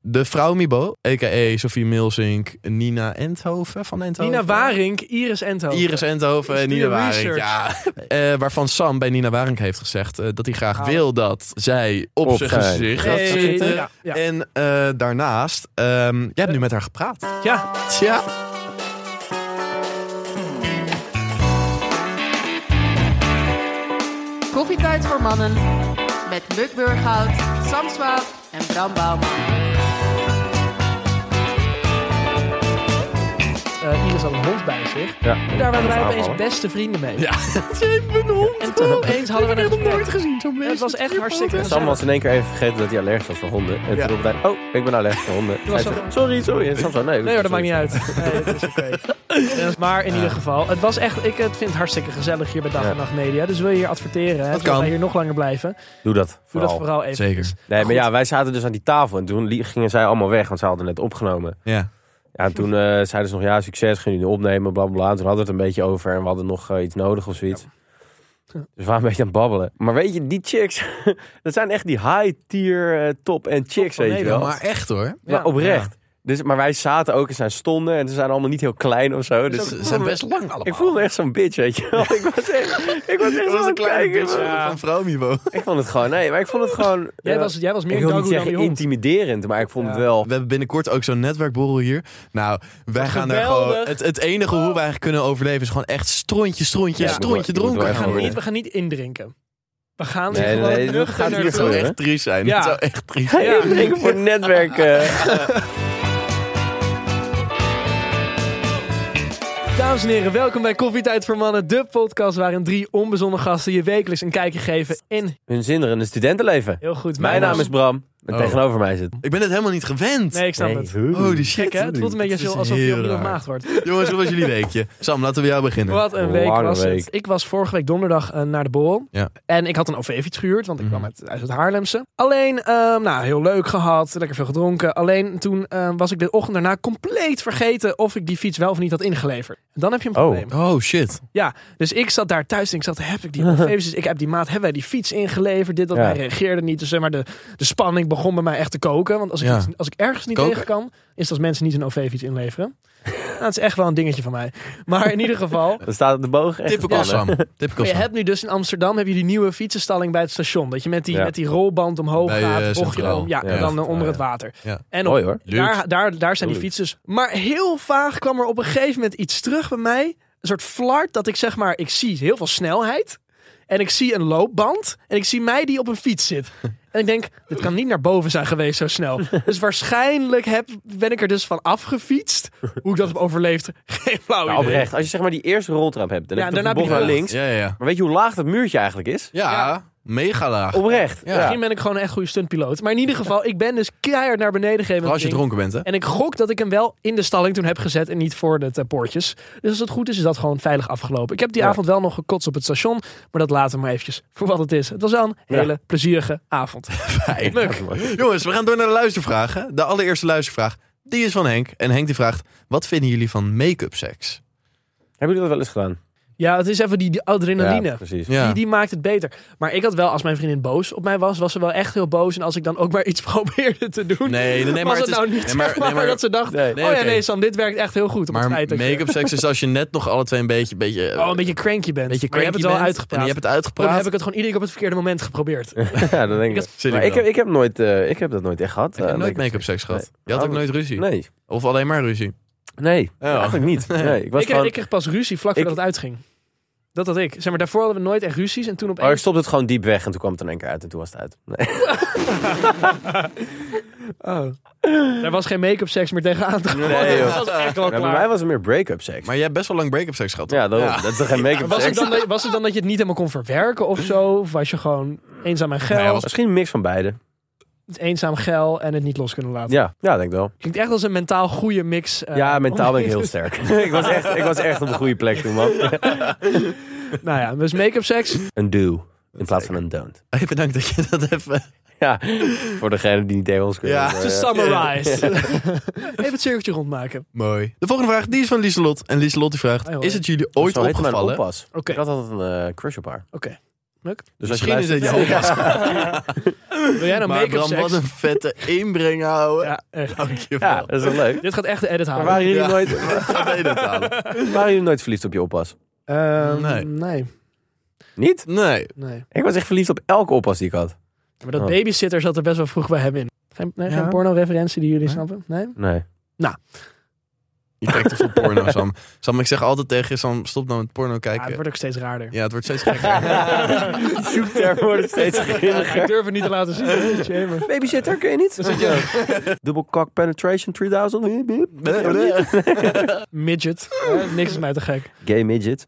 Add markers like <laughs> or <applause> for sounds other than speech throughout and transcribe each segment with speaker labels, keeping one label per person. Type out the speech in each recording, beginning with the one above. Speaker 1: De vrouw Mibo, a.k.a. Sofie Milsink, Nina Endhoven van Endhoven.
Speaker 2: Nina Waring, Iris Endhoven.
Speaker 1: Iris Endhoven en
Speaker 2: Is die
Speaker 1: Nina Waring.
Speaker 2: research?
Speaker 1: Ja. Eh, waarvan Sam bij Nina Waring heeft gezegd eh, dat hij graag
Speaker 2: Oh.
Speaker 1: wil dat zij op,
Speaker 3: Op
Speaker 1: zijn
Speaker 3: zijn.
Speaker 1: gezicht gaat
Speaker 2: Hey,
Speaker 1: zitten.
Speaker 2: ja, ja.
Speaker 1: En eh, daarnaast, ehm, jij hebt nu met haar gepraat.
Speaker 2: Ja,
Speaker 1: Tja.
Speaker 4: Koffietijd voor mannen met Muk Burghout, Sam Swaap en Bram Bouwman.
Speaker 2: eh, Iris had een hond bij zich.
Speaker 3: Ja.
Speaker 2: En daar waren wij opeens
Speaker 3: aanvallen.
Speaker 2: beste vrienden mee. <laughs>
Speaker 1: Ja. Jij bent een hond.
Speaker 2: En toen opeens hadden we een gesprek.
Speaker 1: gezien zo'n
Speaker 2: Het was echt hartstikke
Speaker 3: Sam
Speaker 2: gezellig.
Speaker 3: was in één keer even vergeten dat hij allergisch was voor honden. En
Speaker 1: Ja.
Speaker 3: toen roepte hij, oh, ik ben allergisch voor honden.
Speaker 2: was
Speaker 3: Hij
Speaker 2: zo-
Speaker 3: zei, sorry, sorry. En Sam zei, nee.
Speaker 2: Nee hoor, dat maakt
Speaker 3: sorry.
Speaker 2: niet uit. Nee, het is oké.
Speaker 3: <laughs>
Speaker 2: Eh, Maar in ieder geval, het was echt, ik het vind het hartstikke gezellig hier bij Dag
Speaker 3: Ja.
Speaker 2: en Nacht Media. Dus wil je hier adverteren, hè,
Speaker 1: Dat
Speaker 2: wil
Speaker 1: kan.
Speaker 2: je hier nog langer blijven,
Speaker 3: Doe dat.
Speaker 2: doe dat vooral even.
Speaker 1: Zeker.
Speaker 3: Nee, maar ja, wij zaten dus aan die tafel. En toen li- gingen zij allemaal weg, want zij hadden net opgenomen.
Speaker 1: Ja.
Speaker 3: Ja, en toen eh, zeiden ze nog, ja, succes, gaan jullie opnemen, bla bla bla. En Toen hadden we het een beetje over en we hadden nog eh, iets nodig of zoiets. Dus we waren een beetje aan het babbelen. Maar weet je, die chicks, <laughs> dat zijn echt die high-tier eh, top-end chicks,
Speaker 2: van
Speaker 3: weet je wel.
Speaker 2: Nederland.
Speaker 1: Maar echt hoor.
Speaker 2: Ja.
Speaker 3: Maar oprecht. Dus, maar wij zaten ook en zij stonden en ze zijn allemaal niet heel klein of zo. Dus
Speaker 1: Ze zijn best lang allemaal.
Speaker 3: ik voelde me echt zo'n bitch, weet je <laughs> wel. Ik was echt, ik was
Speaker 1: Dat
Speaker 3: echt
Speaker 1: was
Speaker 3: zo'n
Speaker 1: een kleine
Speaker 3: kijker.
Speaker 1: bitch van vrouw Mibo.
Speaker 3: Ik vond het gewoon, nee, maar ik vond het gewoon...
Speaker 2: Jij,
Speaker 3: eh,
Speaker 2: was, jij was
Speaker 3: ik
Speaker 2: meer
Speaker 3: wil
Speaker 2: Dagoe
Speaker 3: niet
Speaker 2: dan die
Speaker 3: zeggen
Speaker 2: hond.
Speaker 3: intimiderend, maar ik vond het wel...
Speaker 1: We hebben binnenkort ook zo'n netwerkborrel hier. Nou, wij gaan daar
Speaker 2: geweldig.
Speaker 1: gewoon... Het, het enige hoe wij kunnen overleven is gewoon echt strontje, strontje,
Speaker 3: Ja,
Speaker 1: strontje
Speaker 3: moet wel- moet wel
Speaker 1: dronken.
Speaker 3: echt
Speaker 2: We gaan,
Speaker 3: worden.
Speaker 2: niet, we gaan niet indrinken. We gaan
Speaker 3: Nee,
Speaker 2: gewoon
Speaker 3: nee, dat
Speaker 2: terug
Speaker 3: gaat
Speaker 2: naar
Speaker 3: hier
Speaker 2: de-
Speaker 1: Het zou
Speaker 3: gebeuren.
Speaker 1: echt triest zijn.
Speaker 2: Ja.
Speaker 1: Het zou echt triest zijn.
Speaker 3: Hey,
Speaker 2: Ja.
Speaker 3: ik denk voor het netwerk. <laughs> eh.
Speaker 2: Dames en heren, welkom bij Koffietijd voor Mannen, de podcast waarin drie onbezonnen gasten je wekelijks een kijkje geven in
Speaker 3: hun zinderende studentenleven.
Speaker 2: heel goed.
Speaker 3: Mijn naam is Bram. En
Speaker 1: Oh.
Speaker 3: tegenover mij zit.
Speaker 1: Ik ben het helemaal niet gewend.
Speaker 2: Nee, ik snap het. Oh,
Speaker 1: Holy shit.
Speaker 2: Gek hè? Het voelt een beetje
Speaker 1: Dit is
Speaker 2: zo alsof je
Speaker 1: heel
Speaker 2: opnieuw
Speaker 1: raar.
Speaker 2: maagd wordt.
Speaker 1: Jongens, hoe was jullie
Speaker 2: <laughs>
Speaker 1: weekje? Sam, laten we jou beginnen.
Speaker 2: Wat een week
Speaker 3: Lange
Speaker 2: was
Speaker 3: week.
Speaker 2: het. Ik was vorige week donderdag eh, naar de borrel.
Speaker 1: Ja.
Speaker 2: En ik had een OV-fiets gehuurd, want ik kwam uit, uit het Haarlemse. Alleen, ehm, nou, heel leuk gehad. Lekker veel gedronken. Alleen toen ehm, was ik de ochtend daarna compleet vergeten of ik die fiets wel of niet had ingeleverd. Dan heb je een
Speaker 3: Oh.
Speaker 2: probleem.
Speaker 1: Oh shit.
Speaker 2: Ja, dus ik zat daar thuis en ik zat, heb
Speaker 1: <laughs>
Speaker 2: ik die OV's? Dus ik heb die maat, hebben wij die fiets ingeleverd? Dit, dat,
Speaker 3: Ja.
Speaker 2: hij reageerde niet. Dus zeg maar, de, de spanning begon bij mij echt te koken. Want als ik,
Speaker 1: Ja.
Speaker 2: iets- als ik ergens niet
Speaker 1: Koken.
Speaker 2: tegen kan, is dat als mensen niet een OV-fiets
Speaker 1: <laughs>
Speaker 2: inleveren. nou, het is echt wel een dingetje van mij. Maar in ieder geval,
Speaker 3: Dan staat op de boog. echt nou,
Speaker 1: Typical
Speaker 3: gespannen.
Speaker 1: Sam. Typical
Speaker 2: je
Speaker 1: Sam.
Speaker 2: hebt nu dus in Amsterdam heb je die nieuwe fietsenstalling bij het station. Dat je met die,
Speaker 3: Ja.
Speaker 2: met die rolband omhoog
Speaker 1: Bij, eh,
Speaker 2: gaat, bochtje
Speaker 1: Centraal.
Speaker 2: erom. Ja,
Speaker 1: Ja.
Speaker 2: en dan
Speaker 3: Ja.
Speaker 2: eh, onder het
Speaker 3: Ja.
Speaker 2: water.
Speaker 1: Ja.
Speaker 2: En op,
Speaker 3: Mooi hoor.
Speaker 1: Leuk.
Speaker 2: daar, daar, daar zijn die
Speaker 3: Leuk.
Speaker 2: fietsers. Maar heel vaag kwam er op een gegeven moment iets terug bij mij. Een soort flart dat ik zeg maar, ik zie heel veel snelheid. En ik zie een loopband. En ik zie mij die op een fiets
Speaker 3: <laughs>
Speaker 2: zit. En ik denk, dit kan niet naar boven zijn geweest zo snel. Dus waarschijnlijk heb, ben ik er dus van afgefietst. Hoe ik dat heb overleefd, <laughs> geen flauw
Speaker 3: Nou,
Speaker 2: idee.
Speaker 3: oprecht. Als je zeg maar die eerste roltrap hebt. Dan
Speaker 2: Ja,
Speaker 3: heb je
Speaker 2: daarna
Speaker 3: de bocht
Speaker 2: heb
Speaker 3: naar
Speaker 2: je
Speaker 3: links.
Speaker 1: Ja, ja, ja.
Speaker 3: Maar weet je hoe laag dat muurtje eigenlijk is?
Speaker 1: Ja, mega laag.
Speaker 3: Oprecht.
Speaker 1: Ja.
Speaker 3: Ja.
Speaker 2: Misschien ben ik gewoon een echt goede stuntpiloot. Maar in ieder geval, ik ben dus keihard naar beneden
Speaker 1: Als
Speaker 2: gegeven.
Speaker 1: je
Speaker 2: met het ding.
Speaker 1: dronken bent, hè?
Speaker 2: En ik gok dat ik hem wel in de stalling toen heb gezet en niet voor de eh, poortjes. Dus als het goed is, is dat gewoon veilig afgelopen. Ik heb die
Speaker 3: Ja.
Speaker 2: avond wel nog gekotst op het station, maar dat laten we maar eventjes voor wat het is. Het was wel een
Speaker 3: Ja.
Speaker 2: hele plezierige avond.
Speaker 1: <laughs> Fijn.
Speaker 2: Leuk.
Speaker 1: Jongens, we gaan door naar de luistervragen. De allereerste luistervraag, die is van Henk. En Henk die vraagt, wat vinden jullie van make-up seks?
Speaker 3: Hebben jullie dat wel eens gedaan?
Speaker 2: Ja, het is even die, die adrenaline.
Speaker 3: Ja, precies.
Speaker 1: Ja.
Speaker 2: Die, die maakt het beter. Maar ik had wel, als mijn vriendin boos op mij was, was ze wel echt heel boos. En als ik dan ook maar iets <laughs> probeerde te doen,
Speaker 1: Nee, nee, nee, maar het
Speaker 2: was het,
Speaker 1: is-
Speaker 2: nou niet
Speaker 1: nee, maar-
Speaker 2: zeg maar,
Speaker 1: nee, maar-
Speaker 2: dat ze dacht,
Speaker 3: Nee.
Speaker 2: oh
Speaker 1: Nee,
Speaker 2: ja,
Speaker 1: oké.
Speaker 2: nee Sam, dit werkt echt heel goed. Op
Speaker 1: Maar
Speaker 2: het feit dat je-
Speaker 1: make-up seks is als je net nog alle twee een beetje... beetje eh,
Speaker 2: oh, een beetje cranky bent.
Speaker 1: beetje
Speaker 2: maar je
Speaker 1: cranky
Speaker 2: hebt het wel
Speaker 1: bent
Speaker 2: uitgepraat.
Speaker 1: En je hebt het
Speaker 2: Dan
Speaker 1: uitgepraat.
Speaker 2: heb ik het gewoon iedere keer op het verkeerde moment geprobeerd.
Speaker 3: Ja, dat denk ik.
Speaker 1: Zit
Speaker 3: Maar
Speaker 1: ik
Speaker 3: ik heb, ik, heb nooit, eh, ik heb dat nooit echt gehad.
Speaker 1: Ik heb
Speaker 3: eh,
Speaker 1: nooit make-up seks gehad. Je had ook nooit ruzie.
Speaker 3: Oh, Nee.
Speaker 1: Of alleen maar ruzie.
Speaker 3: Nee.
Speaker 1: Oh.
Speaker 3: Eigenlijk niet. Nee. Ik was
Speaker 2: Ik, kreeg-
Speaker 3: gewoon...
Speaker 2: ik kreeg pas ruzie vlak
Speaker 3: Ik-
Speaker 2: voordat het uitging. Dat had ik. Zeg maar, daarvoor hadden we nooit echt ruzies. En toen
Speaker 3: Oh, ik
Speaker 2: opeens...
Speaker 3: stopte het gewoon diep weg en toen kwam het in één keer uit en toen was het uit. Nee.
Speaker 2: Oh. Er was geen make-up seks meer tegenaan te gooien.
Speaker 3: Nee, joh.
Speaker 2: Dat was echt wel
Speaker 3: Ja, bij
Speaker 2: klaar.
Speaker 3: mij was het meer break-up seks.
Speaker 1: Maar jij hebt best wel lang break-up seks gehad.
Speaker 3: Ja, daarom. dat is toch geen make-up
Speaker 2: Was het,
Speaker 3: seks?
Speaker 2: dan, dat- was het dan dat je het niet helemaal kon verwerken of zo? Of was je gewoon eenzaam en geil?
Speaker 1: Nee, hij was-
Speaker 3: Misschien een mix van beide.
Speaker 2: Het eenzaam geil en het niet los kunnen laten.
Speaker 3: Ja, ja denk wel.
Speaker 2: Klinkt echt als een mentaal goede mix. eh,
Speaker 3: ja, mentaal
Speaker 2: om-
Speaker 3: ben ik
Speaker 2: <laughs>
Speaker 3: heel sterk. <laughs> ik, was echt, ik was echt op de goede plek toen, man.
Speaker 2: nou ja, dus make-up
Speaker 3: <laughs>
Speaker 2: seks.
Speaker 3: Een do in plaats van een don't.
Speaker 1: <laughs> Hey, bedankt dat je dat even...
Speaker 3: <laughs> Ja, voor degene die niet tegen ons kunnen.
Speaker 1: Ja.
Speaker 3: Dus, eh,
Speaker 2: To summarize. <laughs> Even het cirkeltje rondmaken.
Speaker 1: Mooi. De volgende vraag, die is van Lieselot. En Lieselot die vraagt,
Speaker 2: Hey, hoi.
Speaker 1: is het jullie ooit
Speaker 3: zo nou heette mijn
Speaker 1: opgevallen?
Speaker 3: oppas.
Speaker 2: Oké.
Speaker 3: Ik had altijd een eh, crush op haar.
Speaker 2: Oké. Lukt?
Speaker 3: Dus als je
Speaker 1: Misschien is het
Speaker 3: luistert-
Speaker 1: jouw
Speaker 3: <laughs>
Speaker 1: pas.
Speaker 2: Wil jij nou
Speaker 1: Maar
Speaker 2: make-up
Speaker 1: Bram,
Speaker 2: seks?
Speaker 1: wat een
Speaker 3: <laughs>
Speaker 1: vette inbreng houden.
Speaker 2: Ja, echt.
Speaker 1: Dankjewel.
Speaker 3: Ja, dat is wel leuk.
Speaker 2: Dit gaat echt de edit
Speaker 3: Maar
Speaker 2: halen.
Speaker 3: waren jullie,
Speaker 1: Ja.
Speaker 3: <laughs> nooit,
Speaker 1: Wat gaat hij dat halen?
Speaker 3: waren jullie nooit verliefd op je oppas?
Speaker 2: Ehm,
Speaker 1: Nee.
Speaker 2: nee. nee.
Speaker 3: Niet?
Speaker 1: Nee.
Speaker 3: Ik was echt verliefd op elke oppas die ik had.
Speaker 2: Maar dat
Speaker 3: Oh.
Speaker 2: babysitter zat er best wel vroeg bij hem in. Geen, nee, geen
Speaker 3: Ja.
Speaker 2: porno-referentie die jullie snappen? Nee?
Speaker 3: Nee.
Speaker 1: Je kijkt te veel porno, Sam. Sam, ik zeg altijd tegen je, Sam, stop nou met porno
Speaker 2: Ja, Ah, het
Speaker 3: eh,
Speaker 1: kijken.
Speaker 2: wordt ook steeds raarder.
Speaker 1: Ja, het wordt steeds
Speaker 3: <laughs>
Speaker 1: gekker.
Speaker 3: Zoekterm wordt
Speaker 1: <laughs>
Speaker 3: steeds
Speaker 2: Ik
Speaker 3: grilliger.
Speaker 2: durf het niet te laten zien.
Speaker 3: <laughs> Oh,
Speaker 2: hè, Jammer.
Speaker 3: Babysitter kun je niet. <laughs> Dubbel cock penetration 3000. Wiep, wiep.
Speaker 2: Midget.
Speaker 3: Oh.
Speaker 2: Eh, Niks is mij te gek.
Speaker 3: Gay midget.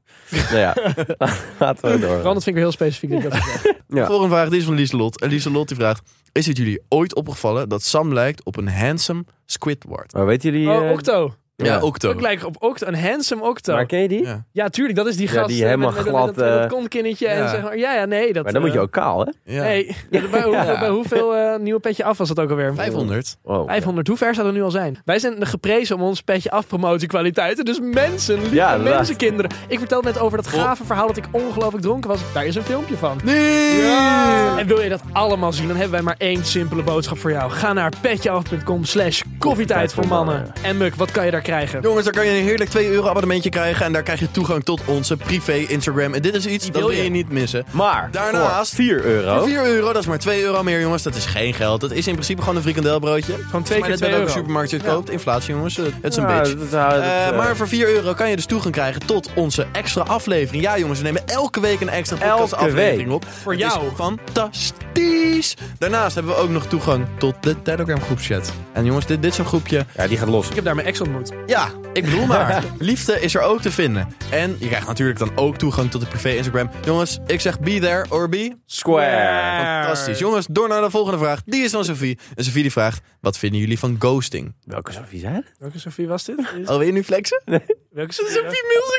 Speaker 3: Nou ja, <laughs> laten we
Speaker 2: Vooral
Speaker 3: door.
Speaker 2: dat vind ik heel specifiek. dat ik dat zeg.
Speaker 3: Ja.
Speaker 1: Volgende vraag, die is van Lieselot. En Lieselot die vraagt, is het jullie ooit opgevallen dat Sam lijkt op een handsome Squidward?
Speaker 3: Maar weten jullie...
Speaker 2: Oh,
Speaker 3: eh,
Speaker 2: Octo.
Speaker 1: Ja, Octo.
Speaker 2: Ik lijk op Octo. Een handsome Octo.
Speaker 3: Maar ken je die?
Speaker 1: Ja.
Speaker 2: Ja, tuurlijk. Dat is die
Speaker 3: Ja,
Speaker 2: gast.
Speaker 3: die
Speaker 2: eh,
Speaker 3: helemaal
Speaker 2: met, met- met
Speaker 3: glad,
Speaker 2: dat- met dat
Speaker 3: eh,
Speaker 2: konkinnetje en
Speaker 1: ja.
Speaker 2: zeg maar. Ja, ja, nee. Dat,
Speaker 3: Maar dan moet je
Speaker 2: eh,
Speaker 3: ook kaal, hè?
Speaker 1: ja.
Speaker 2: Nee. <laughs> Bij hoeveel,
Speaker 1: Ja.
Speaker 2: bij hoeveel eh, nieuwe petje af was dat ook alweer?
Speaker 1: 500.
Speaker 3: Oh,
Speaker 2: 500, hoe ver zou dat nu al zijn? Wij zijn geprezen om ons petje af promotiekwaliteiten. Dus mensen, lieve
Speaker 3: Ja, inderdaad.
Speaker 2: mensenkinderen. Ik vertelde net over dat gave verhaal dat ik ongelooflijk dronken was. Daar is een filmpje van.
Speaker 1: Nee!
Speaker 2: En wil je dat allemaal zien, dan hebben wij maar één simpele boodschap voor jou. Ga naar petjeaf.com slash koffietijd voor mannen. En Muk, wat kan je daar krijgen?
Speaker 1: Jongens, daar kan je een heerlijk 2 euro abonnementje krijgen. En daar krijg je toegang tot onze privé Instagram. En dit is iets dat
Speaker 2: wil
Speaker 1: wil je
Speaker 2: je.
Speaker 1: niet missen.
Speaker 3: Maar
Speaker 1: Daarnaast-
Speaker 3: voor 4 euro.
Speaker 1: Voor 4 euro, dat is maar 2 euro meer, jongens. Dat is geen geld. Dat is in principe gewoon een frikandelbroodje.
Speaker 2: Gewoon twee keer
Speaker 1: dat
Speaker 2: 2
Speaker 1: bij de
Speaker 2: euro.
Speaker 1: supermarkt je het koopt. Inflatie, jongens. eh, Het is een
Speaker 3: Ja,
Speaker 1: beetje.
Speaker 3: dat- dat- dat-
Speaker 1: Eh,
Speaker 3: eh,
Speaker 1: maar voor 4 euro kan je dus toegang krijgen tot onze extra aflevering. Ja, jongens, we nemen elke week een extra
Speaker 3: Elke
Speaker 1: podcastaflevering
Speaker 3: week.
Speaker 1: op. Voor
Speaker 2: jou.
Speaker 1: Is fantastisch. Daarnaast hebben we ook nog toegang tot de Telegram groepchat. En jongens, dit, dit is een groepje.
Speaker 3: Ja, die gaat los.
Speaker 2: Ik heb daar mijn ex ontmoet.
Speaker 1: Ja, ik
Speaker 2: <laughs>
Speaker 1: bedoel <laughs> maar. Liefde is er ook te vinden. En je krijgt natuurlijk dan ook toegang tot de privé Instagram. Jongens, ik zeg be there or be
Speaker 3: Square.
Speaker 1: Fantastisch. Jongens, door naar de volgende vraag. Die is van Sophie. En Sophie die vraagt, wat vinden jullie van ghosting?
Speaker 3: Welke Sophie zijn het?
Speaker 2: Welke Sophie was dit?
Speaker 1: Oh, wil je nu flexen?
Speaker 2: Welke Sophie?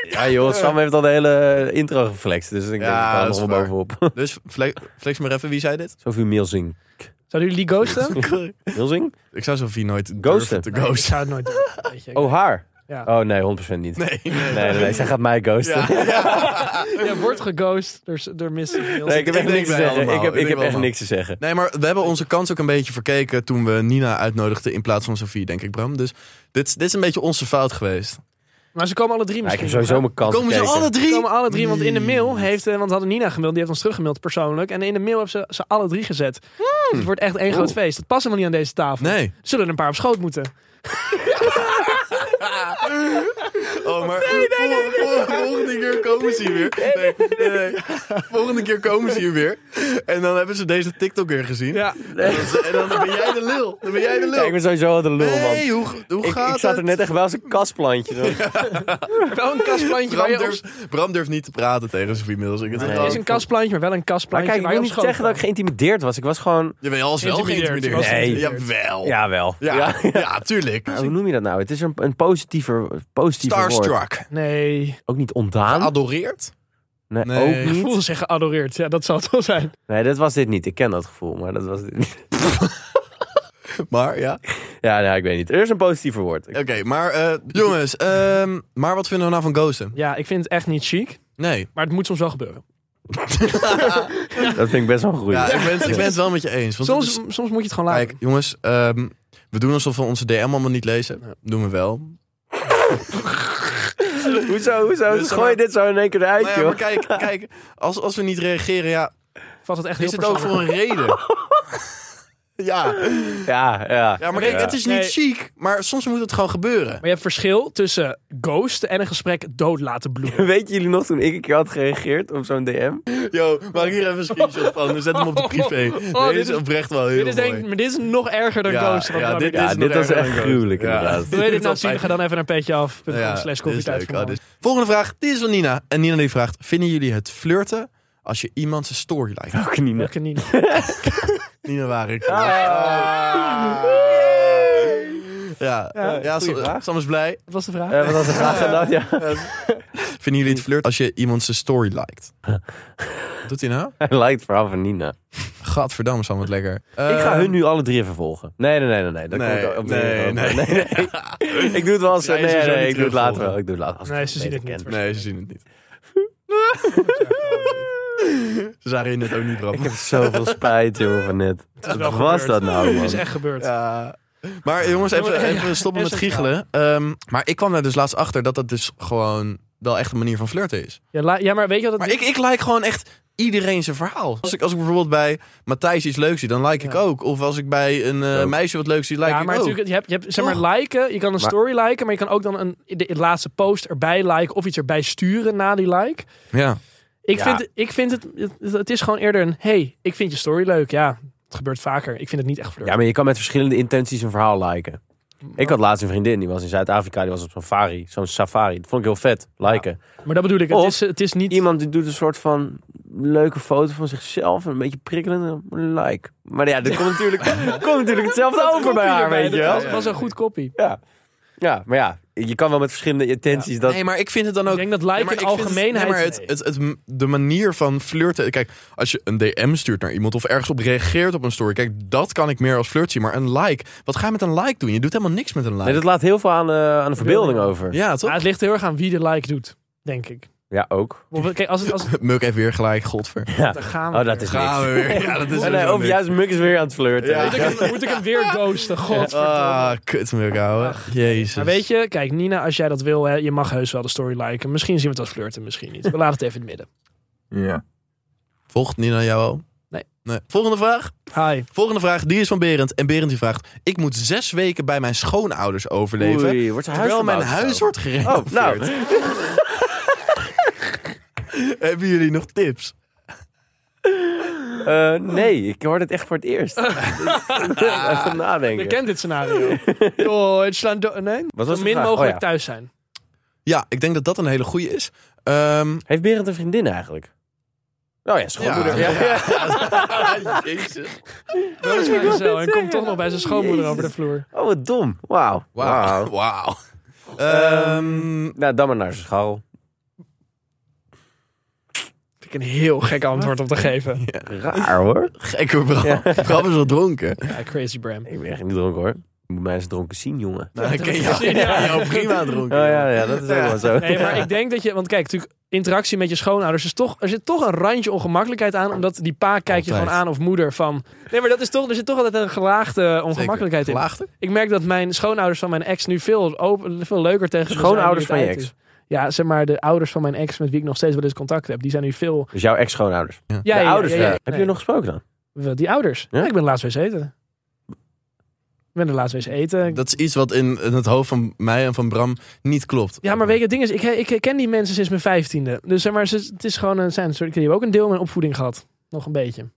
Speaker 3: Ja joh, Sam heeft al de hele intro geflext. Dus ik denk
Speaker 1: Ja,
Speaker 3: dat ik
Speaker 1: dat
Speaker 3: er
Speaker 1: is
Speaker 3: nog wel
Speaker 1: waar.
Speaker 3: bovenop. <laughs>
Speaker 1: Dus fle- flex maar even, wie zei dit?
Speaker 3: Sophie Milsing.
Speaker 2: Zouden jullie ghosten?
Speaker 3: Milsing?
Speaker 1: Ik zou Sophie nooit durven
Speaker 3: Ghosten.
Speaker 1: te
Speaker 2: Nee, ik
Speaker 1: ghosten.
Speaker 2: zou het nooit doen. Weet je.
Speaker 3: Oh, haar?
Speaker 2: Ja.
Speaker 3: Oh nee, 100% niet. Nee,
Speaker 1: <laughs> Nee, nee.
Speaker 3: nee, nee. Zij gaat mij ghosten.
Speaker 1: Ja.
Speaker 2: Je wordt geghost door, door Mr. Nielsen.
Speaker 3: Nee, ik heb
Speaker 1: Ik denk
Speaker 3: echt niks te
Speaker 1: wij
Speaker 3: zeggen.
Speaker 1: allemaal.
Speaker 3: Ik heb,
Speaker 1: Ik denk
Speaker 3: ik heb
Speaker 1: wij
Speaker 3: echt
Speaker 1: allemaal.
Speaker 3: niks te zeggen.
Speaker 1: Nee, maar we hebben onze kans ook een beetje verkeken toen we Nina uitnodigden in plaats van Sophie, denk ik, Bram. Dus dit, dit is een beetje onze fout geweest.
Speaker 2: Maar ze komen alle drie
Speaker 3: Maar ik
Speaker 2: misschien.
Speaker 3: heb sowieso mijn kans
Speaker 1: Komen ze
Speaker 3: gekeken.
Speaker 1: alle
Speaker 2: Ze
Speaker 1: drie?
Speaker 2: komen alle drie, want in de mail heeft... eh, Want we hadden Nina gemaild, die heeft ons teruggemaild persoonlijk. En in de mail hebben ze ze alle drie gezet.
Speaker 3: Hmm.
Speaker 2: Dus het wordt echt één groot feest. Dat past helemaal niet aan deze tafel.
Speaker 1: Nee.
Speaker 2: Zullen er een paar op schoot moeten.
Speaker 1: Oh, maar vol- vol- volgende keer komen ze hier weer. Nee, nee, <laughs> nee. Volgende keer komen ze hier weer. En dan hebben ze deze TikTok weer gezien.
Speaker 2: Ja.
Speaker 1: En dan- En dan ben jij de lul. Dan ben jij de
Speaker 3: Ja, ik
Speaker 1: lul.
Speaker 3: ben sowieso al de lul, man.
Speaker 1: Nee, hoe, hoe
Speaker 3: Ik,
Speaker 1: gaat
Speaker 3: ik zat er
Speaker 1: het?
Speaker 3: net echt wel als een
Speaker 1: <laughs>
Speaker 3: kastplantje. zo.
Speaker 2: <laughs> Wel een kastplantje waar
Speaker 1: Bram
Speaker 2: je op-
Speaker 1: durft, Bram durft niet te praten tegen Sophie Middels. Ik
Speaker 3: Nee.
Speaker 2: Het is een kastplantje, maar wel een
Speaker 3: Maar
Speaker 2: kastplantje.
Speaker 3: kijk, ik
Speaker 2: waar je
Speaker 3: wil
Speaker 2: op
Speaker 3: niet
Speaker 2: schoot
Speaker 3: zeggen dat ik
Speaker 2: kan.
Speaker 3: geïntimideerd was. Ik was gewoon...
Speaker 1: Je bent als wel
Speaker 2: Geïntimideerd.
Speaker 1: geïntimideerd.
Speaker 3: Nee.
Speaker 1: Jawel. Ja,
Speaker 3: Jawel.
Speaker 1: ja,
Speaker 3: Ja.
Speaker 1: tuurlijk.
Speaker 3: Hoe noem je dat nou? Het is een, een positiever, positiever woord.
Speaker 1: Starstruck.
Speaker 2: Nee.
Speaker 3: Ook niet ontdaan.
Speaker 1: Adoreert?
Speaker 3: Nee,
Speaker 1: Nee.
Speaker 3: ook niet.
Speaker 2: Voel zich geadoreerd. Ja, dat zal het wel zijn.
Speaker 3: Nee, dat was dit niet. Ik ken dat gevoel, maar dat was dit niet. <laughs>
Speaker 1: Maar ja.
Speaker 3: Ja, nee, ik weet niet. Er is een positiever woord.
Speaker 1: Oké, maar eh, jongens, ehm, maar wat vinden we nou van ghosten?
Speaker 2: Ja, ik vind het echt niet chic.
Speaker 1: Nee.
Speaker 2: Maar het moet soms wel gebeuren.
Speaker 3: Dat vind ik best wel goed.
Speaker 1: Ja, ik ben, ik ben het wel met je eens. Want het
Speaker 2: Soms,
Speaker 1: is-
Speaker 2: soms moet je het gewoon laten.
Speaker 1: kijk, jongens, ehm, we doen alsof we onze DM allemaal niet lezen. Doen we wel.
Speaker 3: <laughs> Hoezo, hoezo?
Speaker 1: Dus,
Speaker 3: Gooi je dit zo in één keer eruit,
Speaker 1: Nou ja, maar
Speaker 3: joh.
Speaker 1: kijk, kijk als, als we niet reageren, ja,
Speaker 2: Valt het echt heel
Speaker 1: is het ook
Speaker 2: persoonlijk.
Speaker 1: voor een reden. <laughs> ja.
Speaker 3: Ja, ja.
Speaker 1: ja, maar kijk, het is niet
Speaker 2: Nee.
Speaker 1: chic, maar soms moet het gewoon gebeuren.
Speaker 2: Maar je hebt verschil tussen ghosten en een gesprek dood laten bloeden.
Speaker 3: <laughs> Weet jullie nog toen ik een keer had gereageerd op zo'n DM?
Speaker 1: Yo, maak hier even een screenshot van. Dan zet hem op de privé.
Speaker 2: oh,
Speaker 1: Deze
Speaker 2: dit
Speaker 1: is
Speaker 2: is-
Speaker 1: oprecht wel heel
Speaker 2: Dit is, denk,
Speaker 1: mooi.
Speaker 2: ik- maar dit is nog erger dan
Speaker 1: Ja,
Speaker 2: ghosten.
Speaker 1: ja,
Speaker 2: wat we
Speaker 1: dit
Speaker 2: hebben.
Speaker 1: is
Speaker 3: Ja, dit
Speaker 1: nog
Speaker 3: was
Speaker 1: erger
Speaker 3: echt
Speaker 1: dan ghost.
Speaker 3: gruwelijk,
Speaker 1: Ja.
Speaker 3: inderdaad.
Speaker 2: Dus Wil je dit nou
Speaker 1: is wel
Speaker 2: zien? Ga dan even naar petjeaf.com slash
Speaker 1: dit is
Speaker 2: koffietijd
Speaker 1: leuk.
Speaker 2: voor
Speaker 1: Ah,
Speaker 2: mannen.
Speaker 1: dit is- Volgende vraag, die is van Nina. En Nina die vraagt, vinden jullie het flirten als je iemand zijn story
Speaker 2: <laughs>
Speaker 1: lijkt?
Speaker 3: Ook niet.
Speaker 2: Lekker niet.
Speaker 1: Nina waar ik.
Speaker 2: Ah.
Speaker 1: Ja, ja,
Speaker 3: Ja, goeie
Speaker 1: Sam,
Speaker 3: vraag.
Speaker 1: Sam is blij.
Speaker 2: Wat was de vraag?
Speaker 3: Eh, wat was de vraag gedaan? Ja.
Speaker 1: Vinden jullie het flirten als je iemand zijn story lijkt? Wat doet hij nou?
Speaker 3: <laughs> Hij lijkt het verhaal van Nina.
Speaker 1: Gadverdamme, Sam, wat lekker. Eh,
Speaker 3: ik ga hun nu alle drie even volgen. Nee, nee, nee, nee. nee. Dat
Speaker 1: Nee,
Speaker 3: komt ook op de-
Speaker 1: nee, nee.
Speaker 3: nee. Ik doe het wel eens.
Speaker 1: Zij
Speaker 3: Nee,
Speaker 1: is
Speaker 3: nee,
Speaker 1: sowieso
Speaker 3: nee,
Speaker 1: niet
Speaker 3: ik doe het later
Speaker 1: terugvolgen.
Speaker 3: wel. Ik doe het later. als ik
Speaker 2: Nee, ze zien
Speaker 3: beter
Speaker 2: het niet.
Speaker 3: ken.
Speaker 1: Nee, ze zien het niet. <laughs> Ze zagen je net ook niet, Bram.
Speaker 3: Ik heb zoveel spijt, joh, van net. Wat was dat
Speaker 2: <laughs>
Speaker 3: nou,
Speaker 2: Het
Speaker 3: man?
Speaker 2: is echt gebeurd.
Speaker 1: Ja. Maar jongens, even, even stoppen met giechelen. Ehm, maar ik kwam daar dus laatst achter dat dat dus gewoon wel echt een manier van flirten is.
Speaker 2: Ja, la- ja, maar weet je wat het
Speaker 1: Maar ik, ik like gewoon echt iedereen zijn verhaal. Als ik, als ik bijvoorbeeld bij Matthijs iets leuks zie, dan like ik
Speaker 2: Ja.
Speaker 1: ook. Of als ik bij een eh,
Speaker 3: Ook.
Speaker 1: meisje wat leuks zie, like
Speaker 2: ja,
Speaker 1: ik
Speaker 2: maar
Speaker 1: ook. Oh.
Speaker 2: natuurlijk, je hebt, je hebt zeg maar
Speaker 1: Toch?
Speaker 2: liken. Je kan een
Speaker 3: Maar-
Speaker 2: story liken, maar je kan ook dan een, de, de laatste post erbij liken of iets erbij sturen na die like.
Speaker 1: Ja.
Speaker 2: Ik,
Speaker 3: Ja.
Speaker 2: vind, ik vind het, het, het is gewoon eerder een, hey, ik vind je story leuk. Ja, het gebeurt vaker. Ik vind het niet echt flirt.
Speaker 3: Ja, maar je kan met verschillende intenties een verhaal liken. Ik had laatst een vriendin, die was in Zuid-Afrika, die was op safari. Zo'n safari. Dat vond ik heel vet, liken.
Speaker 2: Maar dat bedoel ik, het,
Speaker 3: Of
Speaker 2: is, het is niet...
Speaker 3: Iemand die doet een soort van leuke foto van zichzelf, een beetje prikkelend, een like. Maar <laughs> ja, dat komt natuurlijk, komt natuurlijk hetzelfde
Speaker 2: Dat
Speaker 3: over bij
Speaker 2: kopie
Speaker 3: haar,
Speaker 2: erbij,
Speaker 3: weet je
Speaker 2: dat
Speaker 3: wel.
Speaker 2: was, was een goed kopie.
Speaker 3: Ja. ja, maar ja, je kan wel met verschillende intenties dat...
Speaker 1: Nee, maar ik vind het dan ook...
Speaker 2: Ik denk dat liken
Speaker 1: Nee, maar
Speaker 2: in
Speaker 1: ik vind Het,
Speaker 2: algemeenheid...
Speaker 1: nee, maar het, het, het- de manier van flirten. Kijk, als je een DM stuurt naar iemand of ergens op reageert op een story. Kijk, dat kan ik meer als flirt zien. Maar een like. Wat ga je met een like doen? Je doet helemaal niks met een like.
Speaker 3: Nee, dat laat heel veel aan, eh, aan de verbeelding over.
Speaker 1: Ja, toch?
Speaker 2: Maar het ligt heel erg aan wie de like doet, denk ik.
Speaker 3: Ja, ook.
Speaker 2: Of- Kijk, als het... Als het
Speaker 1: Muk heeft weer gelijk, godver.
Speaker 3: Ja.
Speaker 2: dan gaan we
Speaker 3: <laughs> Oh,
Speaker 2: weer.
Speaker 3: dat is niks.
Speaker 1: Gaan we weer. Ja, dat is
Speaker 3: Oh, <laughs> nee,
Speaker 1: sowieso
Speaker 3: of
Speaker 1: niks.
Speaker 3: juist Muk is weer aan het flirten.
Speaker 1: Ja.
Speaker 3: weet je wel.
Speaker 2: Moet ik, hem- moet ik hem weer ghosten,
Speaker 1: <laughs>
Speaker 2: god.
Speaker 1: Ah, kut Muk, ouwe. Jezus.
Speaker 2: Maar weet je, kijk Nina, als jij dat wil, hè, je mag heus wel de story liken. Misschien zien we het als flirten, misschien niet. We laten het even in het midden.
Speaker 3: Ja.
Speaker 1: Volgt Nina jou al?
Speaker 2: Nee.
Speaker 1: Volgende vraag.
Speaker 2: Hi.
Speaker 1: Volgende vraag, die is van Berend. En Berend die vraagt... Ik moet zes weken bij mijn schoonouders overleven...
Speaker 3: Oei, wordt zijn huis
Speaker 1: terwijl mijn
Speaker 3: verbouwd of
Speaker 1: huis
Speaker 3: zo?
Speaker 1: wordt gerenoveerd.
Speaker 3: Oh, nou.
Speaker 1: Hebben jullie nog tips?
Speaker 3: Eh, nee, ik hoor het echt voor het <laughs> eerst. Even nadenken.
Speaker 2: Je kent dit <laughs> scenario. Deutschland, do- nee?
Speaker 3: Wat
Speaker 2: Zo
Speaker 3: was de
Speaker 2: min
Speaker 3: vraag?
Speaker 2: mogelijk
Speaker 3: Oh, ja.
Speaker 2: thuis zijn.
Speaker 1: Ja, ik denk dat dat een hele goede is.
Speaker 2: <laughs>
Speaker 1: Ehm,
Speaker 3: Heeft Berend een vriendin eigenlijk? Oh ja, schoonmoeder.
Speaker 1: Ja.
Speaker 3: Ja. Ja,
Speaker 1: Jezus.
Speaker 2: Dat is maar zo. En komt toch nog bij zijn schoonmoeder
Speaker 3: Jezus.
Speaker 2: over de vloer.
Speaker 3: Oh, wat dom. Wauw.
Speaker 1: Wauw.
Speaker 3: Wauw.
Speaker 1: Wauw. Ehm,
Speaker 3: Nou, dan maar naar zijn school.
Speaker 2: Vind ik een heel gek antwoord op te geven.
Speaker 3: <laughs> Raar hoor.
Speaker 1: gekke Bram. Bram is al dronken.
Speaker 2: Ja, crazy Bram.
Speaker 3: Ik ben echt niet dronken hoor. Je moet mij eens dronken zien, jongen.
Speaker 1: Nou, ik ken
Speaker 2: dat
Speaker 1: jou,
Speaker 2: is- ja.
Speaker 1: jou prima
Speaker 3: Oh
Speaker 1: dronken.
Speaker 3: ja, ja dat is ook wel
Speaker 2: <laughs>
Speaker 3: zo.
Speaker 2: Nee, maar ik denk dat je... Want kijk, natuurlijk, interactie met je schoonouders is toch... Er zit toch een randje ongemakkelijkheid aan. Omdat die pa kijkt je
Speaker 1: Altijd.
Speaker 2: gewoon aan of moeder van... Nee, maar dat is toch... Er zit toch altijd een gelaagde ongemakkelijkheid in.
Speaker 1: Gelaagde?
Speaker 2: Ik merk dat mijn schoonouders van mijn ex nu veel, open, veel leuker tegen me zijn
Speaker 3: Schoonouders
Speaker 2: die het
Speaker 3: van je
Speaker 2: uit
Speaker 3: ex?
Speaker 2: is. Ja, zeg maar, de ouders van mijn ex met wie ik nog steeds wel eens contact heb, die zijn nu veel...
Speaker 3: Dus jouw ex-schoonouders.
Speaker 2: Ja,
Speaker 3: de
Speaker 2: ja,
Speaker 3: ouders.
Speaker 2: ja, ja, ja.
Speaker 3: Heb je
Speaker 2: Nee.
Speaker 3: nog gesproken dan?
Speaker 2: Wel, Die ouders?
Speaker 3: Ja?
Speaker 2: Ja? ik ben laatst wees eten. Ik ben er laatst wees eten. Ik-
Speaker 1: Dat is iets wat in, in het hoofd van mij en van Bram niet klopt.
Speaker 2: Ja, maar weet je, het ding is, ik, ik ken die mensen sinds mijn vijftiende. Dus zeg maar, ze- het is gewoon een zijn. soort- Ik heb ook een deel van mijn opvoeding gehad. Nog een beetje.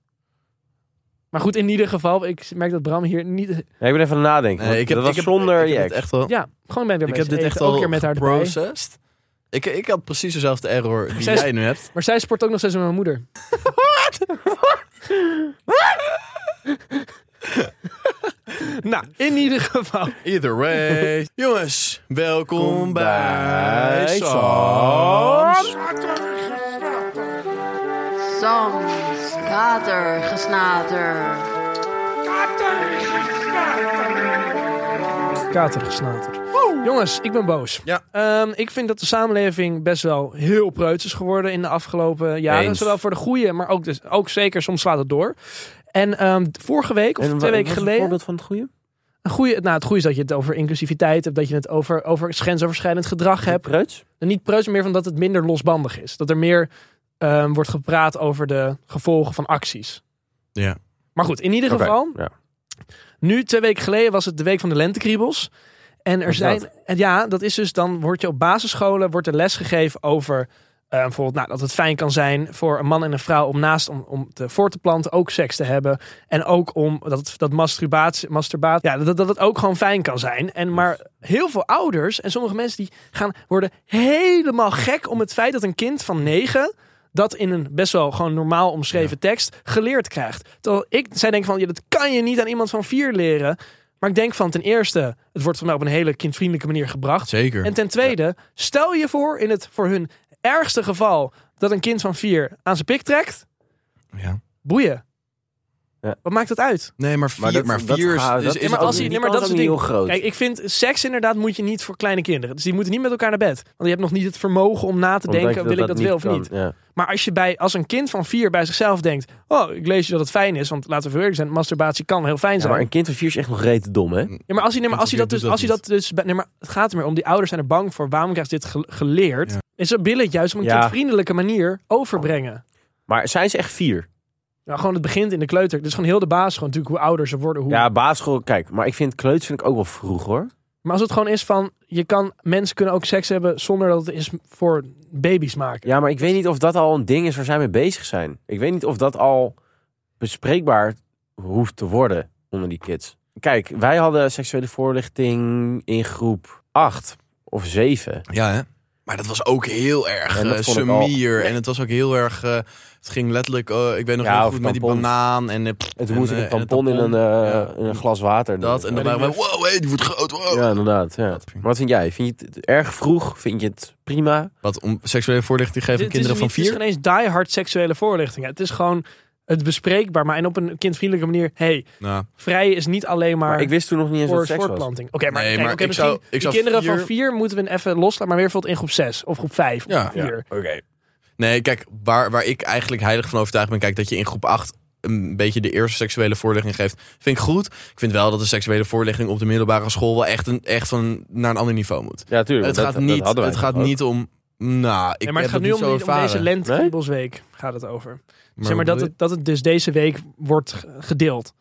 Speaker 2: Maar goed, in ieder geval, ik merk dat Bram hier niet...
Speaker 3: Nee, ik ben even aan het nadenken.
Speaker 1: Nee, ik heb,
Speaker 3: dat was
Speaker 1: ik heb,
Speaker 3: zonder
Speaker 1: ik heb
Speaker 3: je
Speaker 1: dit
Speaker 3: ex.
Speaker 1: echt wel,
Speaker 2: Ja, gewoon ben ik er
Speaker 1: ik
Speaker 2: wees
Speaker 1: heb dit
Speaker 2: eten,
Speaker 1: echt
Speaker 2: ook
Speaker 1: al
Speaker 2: keer met haar erbij.
Speaker 1: geprocessed. Ik, ik had precies dezelfde error die
Speaker 2: Zij is-
Speaker 1: jij nu hebt.
Speaker 2: Maar zij sport ook nog steeds met mijn
Speaker 1: <laughs>
Speaker 2: moeder. <laughs> nou, in ieder geval.
Speaker 1: Either
Speaker 2: <laughs>
Speaker 1: way. Jongens, welkom
Speaker 3: Kom
Speaker 1: bij
Speaker 3: bij
Speaker 1: Sans.
Speaker 4: Soms katergesnater.
Speaker 2: Katergesnater. Jongens, ik ben boos.
Speaker 1: Ja.
Speaker 2: Ehm, ik vind dat de samenleving best wel heel preuts is geworden in de afgelopen jaren.
Speaker 3: Eens.
Speaker 2: Zowel voor de goede, maar ook, dus, ook zeker soms slaat het door. En ehm, vorige week, of
Speaker 3: En
Speaker 2: twee
Speaker 3: wa-
Speaker 2: weken
Speaker 3: wat is het
Speaker 2: geleden...
Speaker 3: voorbeeld van het goede?
Speaker 2: Een goede, nou, het goede is dat je het over inclusiviteit hebt. Dat je het over, over grensoverschrijdend gedrag hebt.
Speaker 3: Preuts?
Speaker 2: En niet preuts meer van dat het minder losbandig is. Dat er meer ehm, wordt gepraat over de gevolgen van acties.
Speaker 1: Ja.
Speaker 2: Maar goed, in ieder
Speaker 3: Oké,
Speaker 2: geval,
Speaker 3: ja.
Speaker 2: nu twee weken geleden was het de week van de lentekriebels. En er
Speaker 3: is
Speaker 2: zijn,
Speaker 3: dat?
Speaker 2: en ja, dat is dus dan wordt je op basisscholen wordt er les gegeven over eh, bijvoorbeeld nou, dat het fijn kan zijn voor een man en een vrouw om naast om, om te, voor te planten ook seks te hebben. En ook om dat, het- dat masturbatie, masturbaat, ja, dat, dat het ook gewoon fijn kan zijn. En maar heel veel ouders en sommige mensen die gaan worden helemaal gek om het feit dat een kind van negen dat in een best wel gewoon normaal omschreven tekst geleerd krijgt. Terwijl ik, zij denken van, ja, dat kan je niet aan iemand van vier leren. Maar ik denk van, ten eerste, het wordt voor mij op een hele kindvriendelijke manier gebracht.
Speaker 1: Zeker.
Speaker 2: En ten tweede, stel je voor in het voor hun ergste geval dat een kind van vier aan zijn pik trekt,
Speaker 1: Ja.
Speaker 2: boeien.
Speaker 3: Ja.
Speaker 2: Wat maakt dat uit?
Speaker 1: Nee, maar vier, maar
Speaker 3: dat- dat
Speaker 1: vier is-
Speaker 3: gaat-
Speaker 1: is,
Speaker 3: dat-
Speaker 1: is
Speaker 3: Ja,
Speaker 2: maar
Speaker 1: het
Speaker 2: als
Speaker 1: ook
Speaker 2: hij-
Speaker 1: niet-
Speaker 2: nee, maar dat
Speaker 3: kans
Speaker 2: is
Speaker 3: ook
Speaker 2: het
Speaker 3: niet heel groot.
Speaker 2: Kijk, ik vind seks inderdaad moet je niet voor kleine kinderen. Dus die moeten niet met elkaar naar bed. Want je hebt nog niet het vermogen om na te
Speaker 3: Omdat
Speaker 2: denken,
Speaker 3: je
Speaker 2: wil ik dat wel of
Speaker 3: kan.
Speaker 2: niet.
Speaker 3: Ja.
Speaker 2: Maar als je bij, als een kind van vier bij zichzelf denkt, oh, ik lees je dat het fijn is, want laten we eerlijk zijn, masturbatie kan heel fijn
Speaker 3: Ja,
Speaker 2: zijn.
Speaker 3: maar een kind van vier is echt nog reet dom, hè?
Speaker 2: Ja, maar als hij, nee, maar als hij
Speaker 1: Interview
Speaker 2: dat dus,
Speaker 1: doet
Speaker 2: als hij
Speaker 1: dat
Speaker 2: dat dus, nee, maar het gaat er meer om. Die ouders zijn er bang voor. Waarom krijgt dit ge- geleerd?
Speaker 1: Ja.
Speaker 2: En ze willen het juist op een
Speaker 3: Ja.
Speaker 2: kindvriendelijke manier overbrengen.
Speaker 3: Maar zijn ze echt vier?
Speaker 2: Ja, gewoon het begint in de kleuter. Dus gewoon heel de basis, gewoon natuurlijk hoe ouder ze worden. Hoe...
Speaker 3: Ja, basisschool, kijk. Maar ik vind kleuts vind ik ook wel vroeg, hoor.
Speaker 2: Maar als het gewoon is van, je kan, mensen kunnen ook seks hebben zonder dat het is voor baby's maken.
Speaker 3: Ja, maar ik weet niet of dat al een ding is waar zij mee bezig zijn. Ik weet niet of dat al bespreekbaar hoeft te worden onder die kids. Kijk, wij hadden seksuele voorlichting in groep 8 of 7.
Speaker 1: Ja, hè? Maar dat was ook heel erg
Speaker 3: En dat
Speaker 1: eh,
Speaker 3: vond ik al-
Speaker 1: summier. En het was ook heel erg... eh, het ging letterlijk... eh, ik weet nog
Speaker 3: Ja,
Speaker 1: heel
Speaker 3: of
Speaker 1: goed met die
Speaker 3: tampons.
Speaker 1: banaan. En, eh, pff,
Speaker 3: En toen moest ik
Speaker 1: eh,
Speaker 3: een
Speaker 1: en
Speaker 3: tampon in een, eh,
Speaker 1: Ja.
Speaker 3: in een glas water. doen.
Speaker 1: Dat. En dan
Speaker 2: En ik
Speaker 1: waren we... Wow, hé, die wordt groot. wow."
Speaker 3: Ja, inderdaad. Ja. Maar wat vind jij? Vind je het erg vroeg? Vind je het prima?
Speaker 1: Wat om seksuele voorlichting geven aan
Speaker 2: Dit- dit is
Speaker 1: kinderen van
Speaker 2: niet-
Speaker 1: vier?
Speaker 2: Het is geen eens diehard seksuele voorlichting. hè. Het is gewoon het bespreekbaar, maar en op een kindvriendelijke manier. hey,
Speaker 1: Nou,
Speaker 2: vrij is niet alleen maar,
Speaker 3: Maar ik wist toen nog niet eens
Speaker 2: voor
Speaker 3: wat seks was.
Speaker 2: voortplanting. Oké, maar,
Speaker 1: Nee,
Speaker 2: kijk,
Speaker 1: maar
Speaker 2: oké,
Speaker 1: ik
Speaker 2: misschien
Speaker 1: zou- ik
Speaker 2: die
Speaker 1: zou
Speaker 2: kinderen
Speaker 1: vier-
Speaker 2: van vier moeten we een even loslaten, maar weer bijvoorbeeld in groep zes of groep vijf.
Speaker 1: Ja.
Speaker 2: of groep vier.
Speaker 3: Oké.
Speaker 1: nee, kijk, waar, waar ik eigenlijk heilig van overtuigd ben... Kijk, dat je in groep 8 een beetje de eerste seksuele voorlichting geeft, vind ik goed. Ik vind wel dat de seksuele voorlichting op de middelbare school... wel echt, een, echt van, naar een ander niveau moet.
Speaker 3: Ja, tuurlijk.
Speaker 1: het
Speaker 3: dat-
Speaker 1: gaat
Speaker 3: dat
Speaker 1: niet,
Speaker 3: hadden wij
Speaker 1: het gaat
Speaker 3: toch ook.
Speaker 1: niet om... Nou, ik
Speaker 2: Nee, maar het
Speaker 1: heb
Speaker 2: gaat nu
Speaker 1: dat
Speaker 2: om,
Speaker 1: niet zo
Speaker 2: die- om deze
Speaker 1: ervaren.
Speaker 2: lentekriebelsweek gaat het over. zeg maar
Speaker 1: hoe
Speaker 2: dat
Speaker 1: bedoel
Speaker 2: het, dat het dus deze week wordt g- gedeeld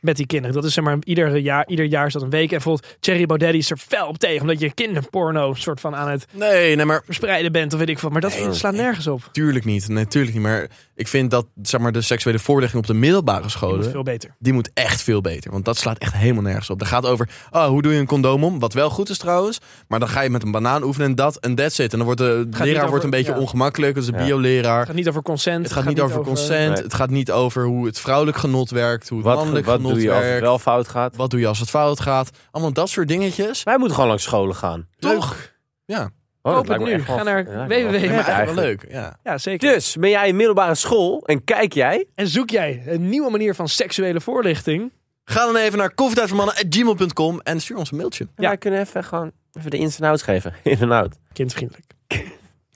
Speaker 2: met die kinderen. Dat is zeg maar ieder jaar, ieder jaar is dat een week. En bijvoorbeeld Thierry Baudet die is er fel op tegen. Omdat je kinderporno soort van aan het
Speaker 1: je? Nee, nee, maar
Speaker 2: verspreiden bent of weet ik wat. Maar dat
Speaker 1: Nee,
Speaker 2: slaat
Speaker 1: nee.
Speaker 2: nergens op.
Speaker 1: Tuurlijk niet, natuurlijk niet. Maar ik vind dat zeg maar, de seksuele voorlichting op de middelbare
Speaker 2: Dat is
Speaker 1: scholen...
Speaker 2: veel beter.
Speaker 1: die moet echt veel beter. Want dat slaat echt helemaal nergens op. Dat gaat over, oh, hoe doe je een condoom om? Wat wel goed is trouwens. Maar dan ga je met een banaan oefenen en dat en that's it. En dan wordt de
Speaker 2: niet
Speaker 1: leraar
Speaker 2: over-
Speaker 1: wordt een beetje
Speaker 2: ja.
Speaker 1: ongemakkelijk. Dat is een
Speaker 3: Ja.
Speaker 1: bioleraar.
Speaker 2: Het gaat niet over consent.
Speaker 1: Het gaat niet over consent.
Speaker 3: Nee.
Speaker 1: Het gaat niet over hoe het vrouwelijk genot werkt. Hoe het
Speaker 3: Wat,
Speaker 1: mannelijk
Speaker 3: wat
Speaker 1: genot
Speaker 3: doe je als het
Speaker 1: werkt.
Speaker 3: wel fout gaat?
Speaker 1: Wat doe je als het fout gaat? Allemaal dat soort dingetjes.
Speaker 3: Wij moeten gewoon langs scholen gaan.
Speaker 1: Toch? Ja.
Speaker 3: Oh,
Speaker 2: Koop het nu.
Speaker 3: wel-
Speaker 2: Ga naar
Speaker 3: dat lijkt me
Speaker 2: www.
Speaker 3: wel- dat
Speaker 1: Ja, maar
Speaker 3: lijkt me
Speaker 1: eigenlijk wel
Speaker 3: eigenlijk.
Speaker 1: leuk. Ja.
Speaker 2: Ja, zeker.
Speaker 3: Dus, ben jij in middelbare school en kijk jij?
Speaker 2: En zoek jij een nieuwe manier van seksuele voorlichting?
Speaker 1: Ga dan even naar koffietijdvoormannen.gmail.com en stuur ons een mailtje.
Speaker 3: Ja. Wij kunnen even gewoon even de ins en outs geven. <laughs> In en out.
Speaker 2: Kindvriendelijk.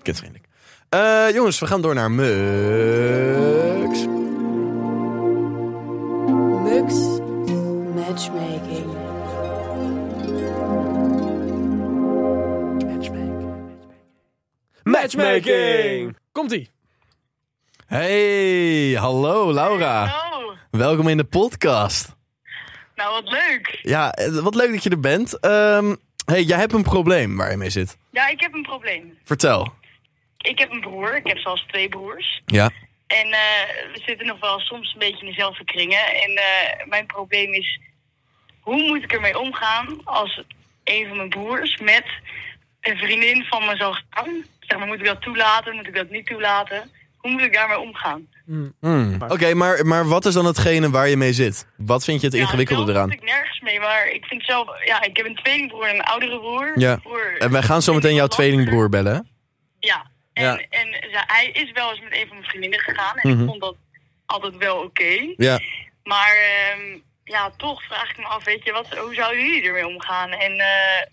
Speaker 1: Kindvriendelijk. Eh, jongens, we gaan door naar Mux.
Speaker 4: Mux Matchmaking.
Speaker 3: Matchmaking!
Speaker 2: Komt-ie.
Speaker 1: Hey, hallo Laura.
Speaker 5: Hallo.
Speaker 1: Welkom in de podcast.
Speaker 5: Nou, wat leuk.
Speaker 1: Ja, eh, wat leuk dat je er bent. Ehm, hey, jij hebt een probleem waar je mee zit.
Speaker 5: Ja, ik heb een probleem.
Speaker 1: Vertel.
Speaker 5: Ik heb een broer. Ik heb zelfs twee broers.
Speaker 1: Ja.
Speaker 5: En eh, we zitten nog wel soms een beetje in dezelfde kringen. En eh, mijn probleem is... Hoe moet ik ermee omgaan als een van mijn broers met een vriendin van me zou gaan? Zeg maar, moet ik dat toelaten? Moet ik dat niet toelaten? Hoe moet ik daarmee omgaan?
Speaker 1: Hmm. Oké, maar, maar wat is dan hetgene waar je mee zit? Wat vind je het ingewikkelde
Speaker 5: zelf
Speaker 1: eraan?
Speaker 5: zit ik nergens mee, maar ik vind zelf... Ja, ik heb een tweelingbroer en een oudere broer.
Speaker 1: Ja.
Speaker 5: Broer-
Speaker 1: En wij gaan zo meteen jouw tweelingbroer bellen. hè?
Speaker 5: Ja, en,
Speaker 1: Ja. Mhm.
Speaker 5: en ze- hij is wel eens met een van mijn vriendinnen gegaan. En ik vond dat altijd wel oké.
Speaker 1: Ja.
Speaker 5: Maar ehm, ja, toch vraag ik me af, weet je, wat, hoe zouden jullie ermee omgaan? En eh,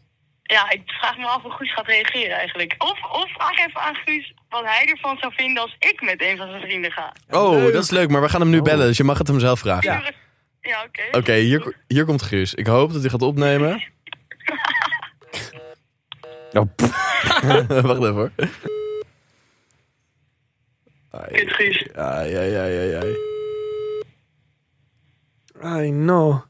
Speaker 5: ja, ik vraag me af hoe Guus gaat reageren eigenlijk. Of, of vraag even aan Guus wat hij ervan zou vinden als ik met een van zijn vrienden ga.
Speaker 1: Oh, dat is leuk, maar we gaan hem nu bellen, dus je mag het hem zelf vragen.
Speaker 5: Ja, oké.
Speaker 1: Oké, hier, hier komt Guus. Ik hoop dat hij gaat opnemen. <laughs>
Speaker 3: Nou, pff,
Speaker 1: Wacht even hoor. Ai,
Speaker 5: Kut, Guus.
Speaker 1: ai, ai, ai, ai.
Speaker 2: I know.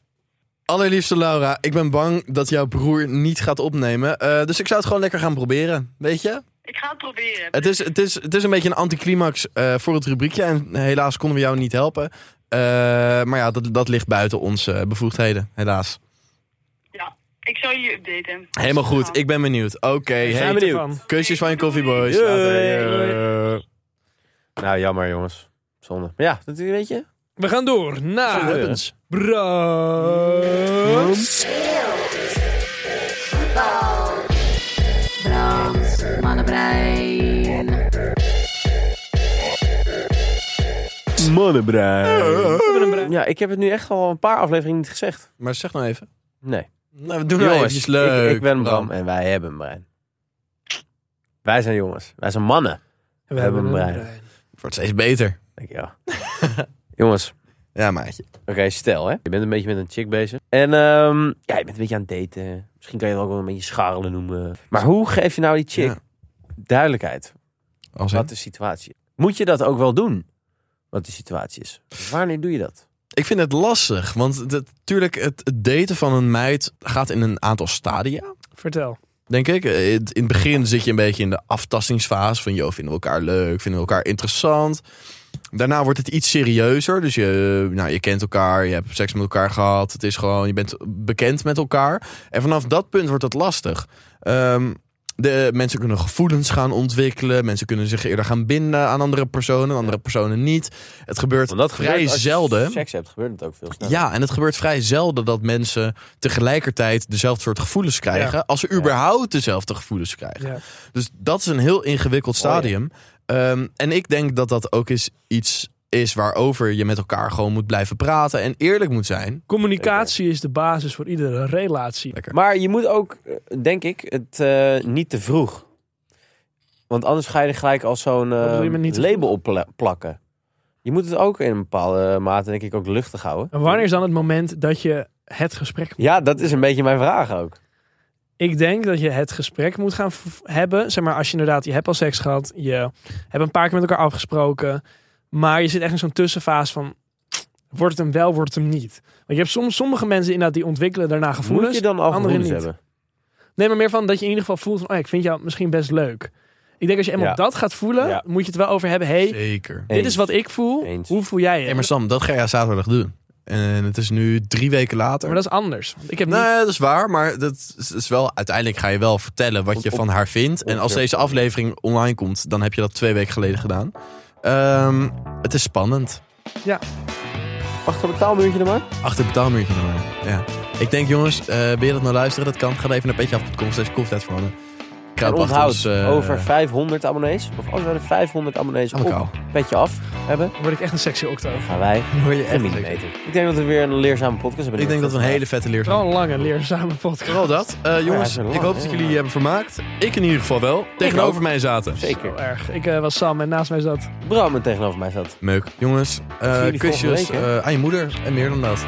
Speaker 1: Allerliefste Laura, ik ben bang dat jouw broer niet gaat opnemen. Eh, dus ik zou het gewoon lekker gaan proberen, weet je?
Speaker 5: Ik ga het proberen.
Speaker 1: Het is, het is, het is een beetje een anticlimax eh, voor het rubriekje. En helaas konden we jou niet helpen. Eh, maar ja, dat, dat ligt buiten onze bevoegdheden, helaas.
Speaker 5: Ja, ik zal je updaten.
Speaker 1: Helemaal goed, ik ben benieuwd. Oké,
Speaker 3: zijn
Speaker 1: hey,
Speaker 3: benieuwd.
Speaker 2: Ervan.
Speaker 1: kusjes van je koffieboys.
Speaker 3: Doei.
Speaker 1: Later.
Speaker 3: nou, jammer jongens. Zonde. Maar ja, dat weet je.
Speaker 2: We gaan door
Speaker 1: What
Speaker 2: naar...
Speaker 1: happens?
Speaker 2: Brams.
Speaker 4: Brams, mannenbrein.
Speaker 3: Mannenbrein. Mannenbrein.
Speaker 2: Mannenbrein.
Speaker 3: Ja, ik heb het nu echt al een paar afleveringen niet gezegd.
Speaker 1: Maar zeg nou even.
Speaker 3: Nee.
Speaker 1: Nou, we doen nou eventjes leuk. Oh.
Speaker 3: Ik, ik ben
Speaker 1: Bram.
Speaker 3: Bram en wij hebben een brein. Wij zijn jongens. Wij zijn mannen.
Speaker 2: We
Speaker 3: hebben een brein.
Speaker 1: Het wordt steeds beter.
Speaker 3: Denk je wel. <laughs> jongens.
Speaker 1: Ja, maatje.
Speaker 3: Oké, stel hè. Je bent een beetje met een chick bezig. En ehm, ja, je bent een beetje aan het daten. Misschien kan je het ook wel een beetje scharrelen noemen. Maar hoe geef je nou die chick
Speaker 1: Ja.
Speaker 3: duidelijkheid?
Speaker 2: Hm?
Speaker 1: Als in-
Speaker 3: Wat de situatie is? Moet je dat ook wel doen? Wat de situatie is? Wanneer doe je dat?
Speaker 1: Ik vind het lastig, want natuurlijk, het, het daten van een meid gaat in een aantal stadia.
Speaker 2: Vertel.
Speaker 1: Denk ik. Eh, In het begin zit je een beetje in de aftastingsfase. Van, joh, vinden we elkaar leuk? Vinden we elkaar interessant? Daarna wordt het iets serieuzer. Dus je, eh, nou, je kent elkaar, je hebt seks met elkaar gehad. Het is gewoon, je bent bekend met elkaar. En vanaf dat punt wordt het lastig. Ehm, de, mensen kunnen gevoelens gaan ontwikkelen. Mensen kunnen zich eerder gaan binden aan andere personen. Andere personen niet. Het gebeurt
Speaker 3: Want dat
Speaker 1: vrij
Speaker 3: gebeurt als je
Speaker 1: zelden.
Speaker 3: seks hebt, gebeurt het ook veel sneller.
Speaker 1: Ja, en het gebeurt vrij zelden dat mensen tegelijkertijd dezelfde soort gevoelens krijgen. Als ze überhaupt dezelfde gevoelens krijgen.
Speaker 2: Ja.
Speaker 1: Dus dat is een heel ingewikkeld
Speaker 3: Oh, ja.
Speaker 1: stadium. Ehm, en ik denk dat dat ook eens iets is waarover je met elkaar gewoon moet blijven praten. En eerlijk moet zijn.
Speaker 2: Communicatie is de basis voor iedere relatie.
Speaker 1: Lekker.
Speaker 3: Maar je moet ook, eh, denk ik, het eh, niet te vroeg. Want anders ga je er gelijk als zo'n eh,
Speaker 2: bedoel je met niet te
Speaker 3: label op pla- plakken. Je moet het ook in een bepaalde mate, denk ik, ook luchtig houden.
Speaker 2: En wanneer is dan het moment dat je het gesprek...
Speaker 3: Ja, dat is een beetje mijn vraag ook.
Speaker 2: Ik denk dat je het gesprek moet gaan v- hebben. Zeg maar, als je inderdaad, je hebt al seks gehad. Je hebt een paar keer met elkaar afgesproken. Maar je zit echt in zo'n tussenfase van... Wordt het hem wel, wordt het hem niet? Want je hebt soms sommige mensen inderdaad die ontwikkelen daarna gevoelens.
Speaker 3: moet je dan al
Speaker 2: anderen
Speaker 3: gevoelens
Speaker 2: niet.
Speaker 3: hebben?
Speaker 2: Nee, maar meer van dat je in ieder geval voelt van... Oh ja, ik vind jou misschien best leuk. Ik denk als je eenmaal
Speaker 3: Ja.
Speaker 2: dat gaat voelen,
Speaker 3: Ja.
Speaker 2: moet je het wel over hebben. hey,
Speaker 1: Zeker.
Speaker 2: dit is wat ik voel.
Speaker 3: Eens.
Speaker 2: Hoe voel jij je?
Speaker 1: Hey, maar Sam, dat ga je zaterdag doen. En het is nu drie weken later.
Speaker 2: Maar dat is anders. Want ik heb niet...
Speaker 1: Nee, dat is waar, maar dat is- is wel, uiteindelijk ga je wel vertellen wat je
Speaker 3: Op-
Speaker 1: van haar vindt. En als deze aflevering online komt, dan heb je dat twee weken geleden gedaan. Ehm, het is spannend.
Speaker 3: Wacht op het taalmuurtje er maar.
Speaker 1: Achter het betaalmuurtje dan maar. Ja. Ik denk, jongens, eh ben je dat nou luisteren? Dat kan. Ga dan even naar petjeaf.com slash koffietijd voor mannen.
Speaker 3: En
Speaker 1: Kruip achter
Speaker 3: onthoud,
Speaker 1: ons, eh,
Speaker 3: over 500 abonnees, of als we er 500 abonnees
Speaker 1: allemaal
Speaker 3: op
Speaker 1: kou.
Speaker 3: petje af hebben,
Speaker 2: Dan word ik echt een sexy octo.
Speaker 3: gaan wij
Speaker 1: Hoor je echt
Speaker 3: een
Speaker 1: niks.
Speaker 3: millimeter. Ik denk dat we weer een leerzame podcast hebben.
Speaker 1: Ik denk dat we een hele vette leer
Speaker 2: Wel
Speaker 1: zijn.
Speaker 2: een lange, leerzame podcast.
Speaker 1: Vooral dat. Eh,
Speaker 3: hij
Speaker 1: jongens,
Speaker 3: is er lang,
Speaker 1: ik hoop dat
Speaker 3: hè,
Speaker 1: jullie
Speaker 3: ja.
Speaker 1: hebben vermaakt. Ik in ieder geval wel. Tegenover mij zaten.
Speaker 2: Heel
Speaker 3: Zeker.
Speaker 2: erg. Ik eh, was Sam en naast mij zat...
Speaker 3: Bram en tegenover mij zat.
Speaker 1: Meuk. Jongens, eh,
Speaker 3: jullie
Speaker 1: kusjes
Speaker 3: volgende week,
Speaker 1: eh, aan je moeder en meer dan dat.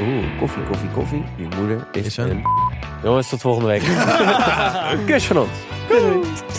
Speaker 3: Oeh, koffie, koffie, koffie. Je moeder is,
Speaker 1: Is een-
Speaker 3: een... Jongens, tot volgende week. Kus van ons.
Speaker 2: Doei.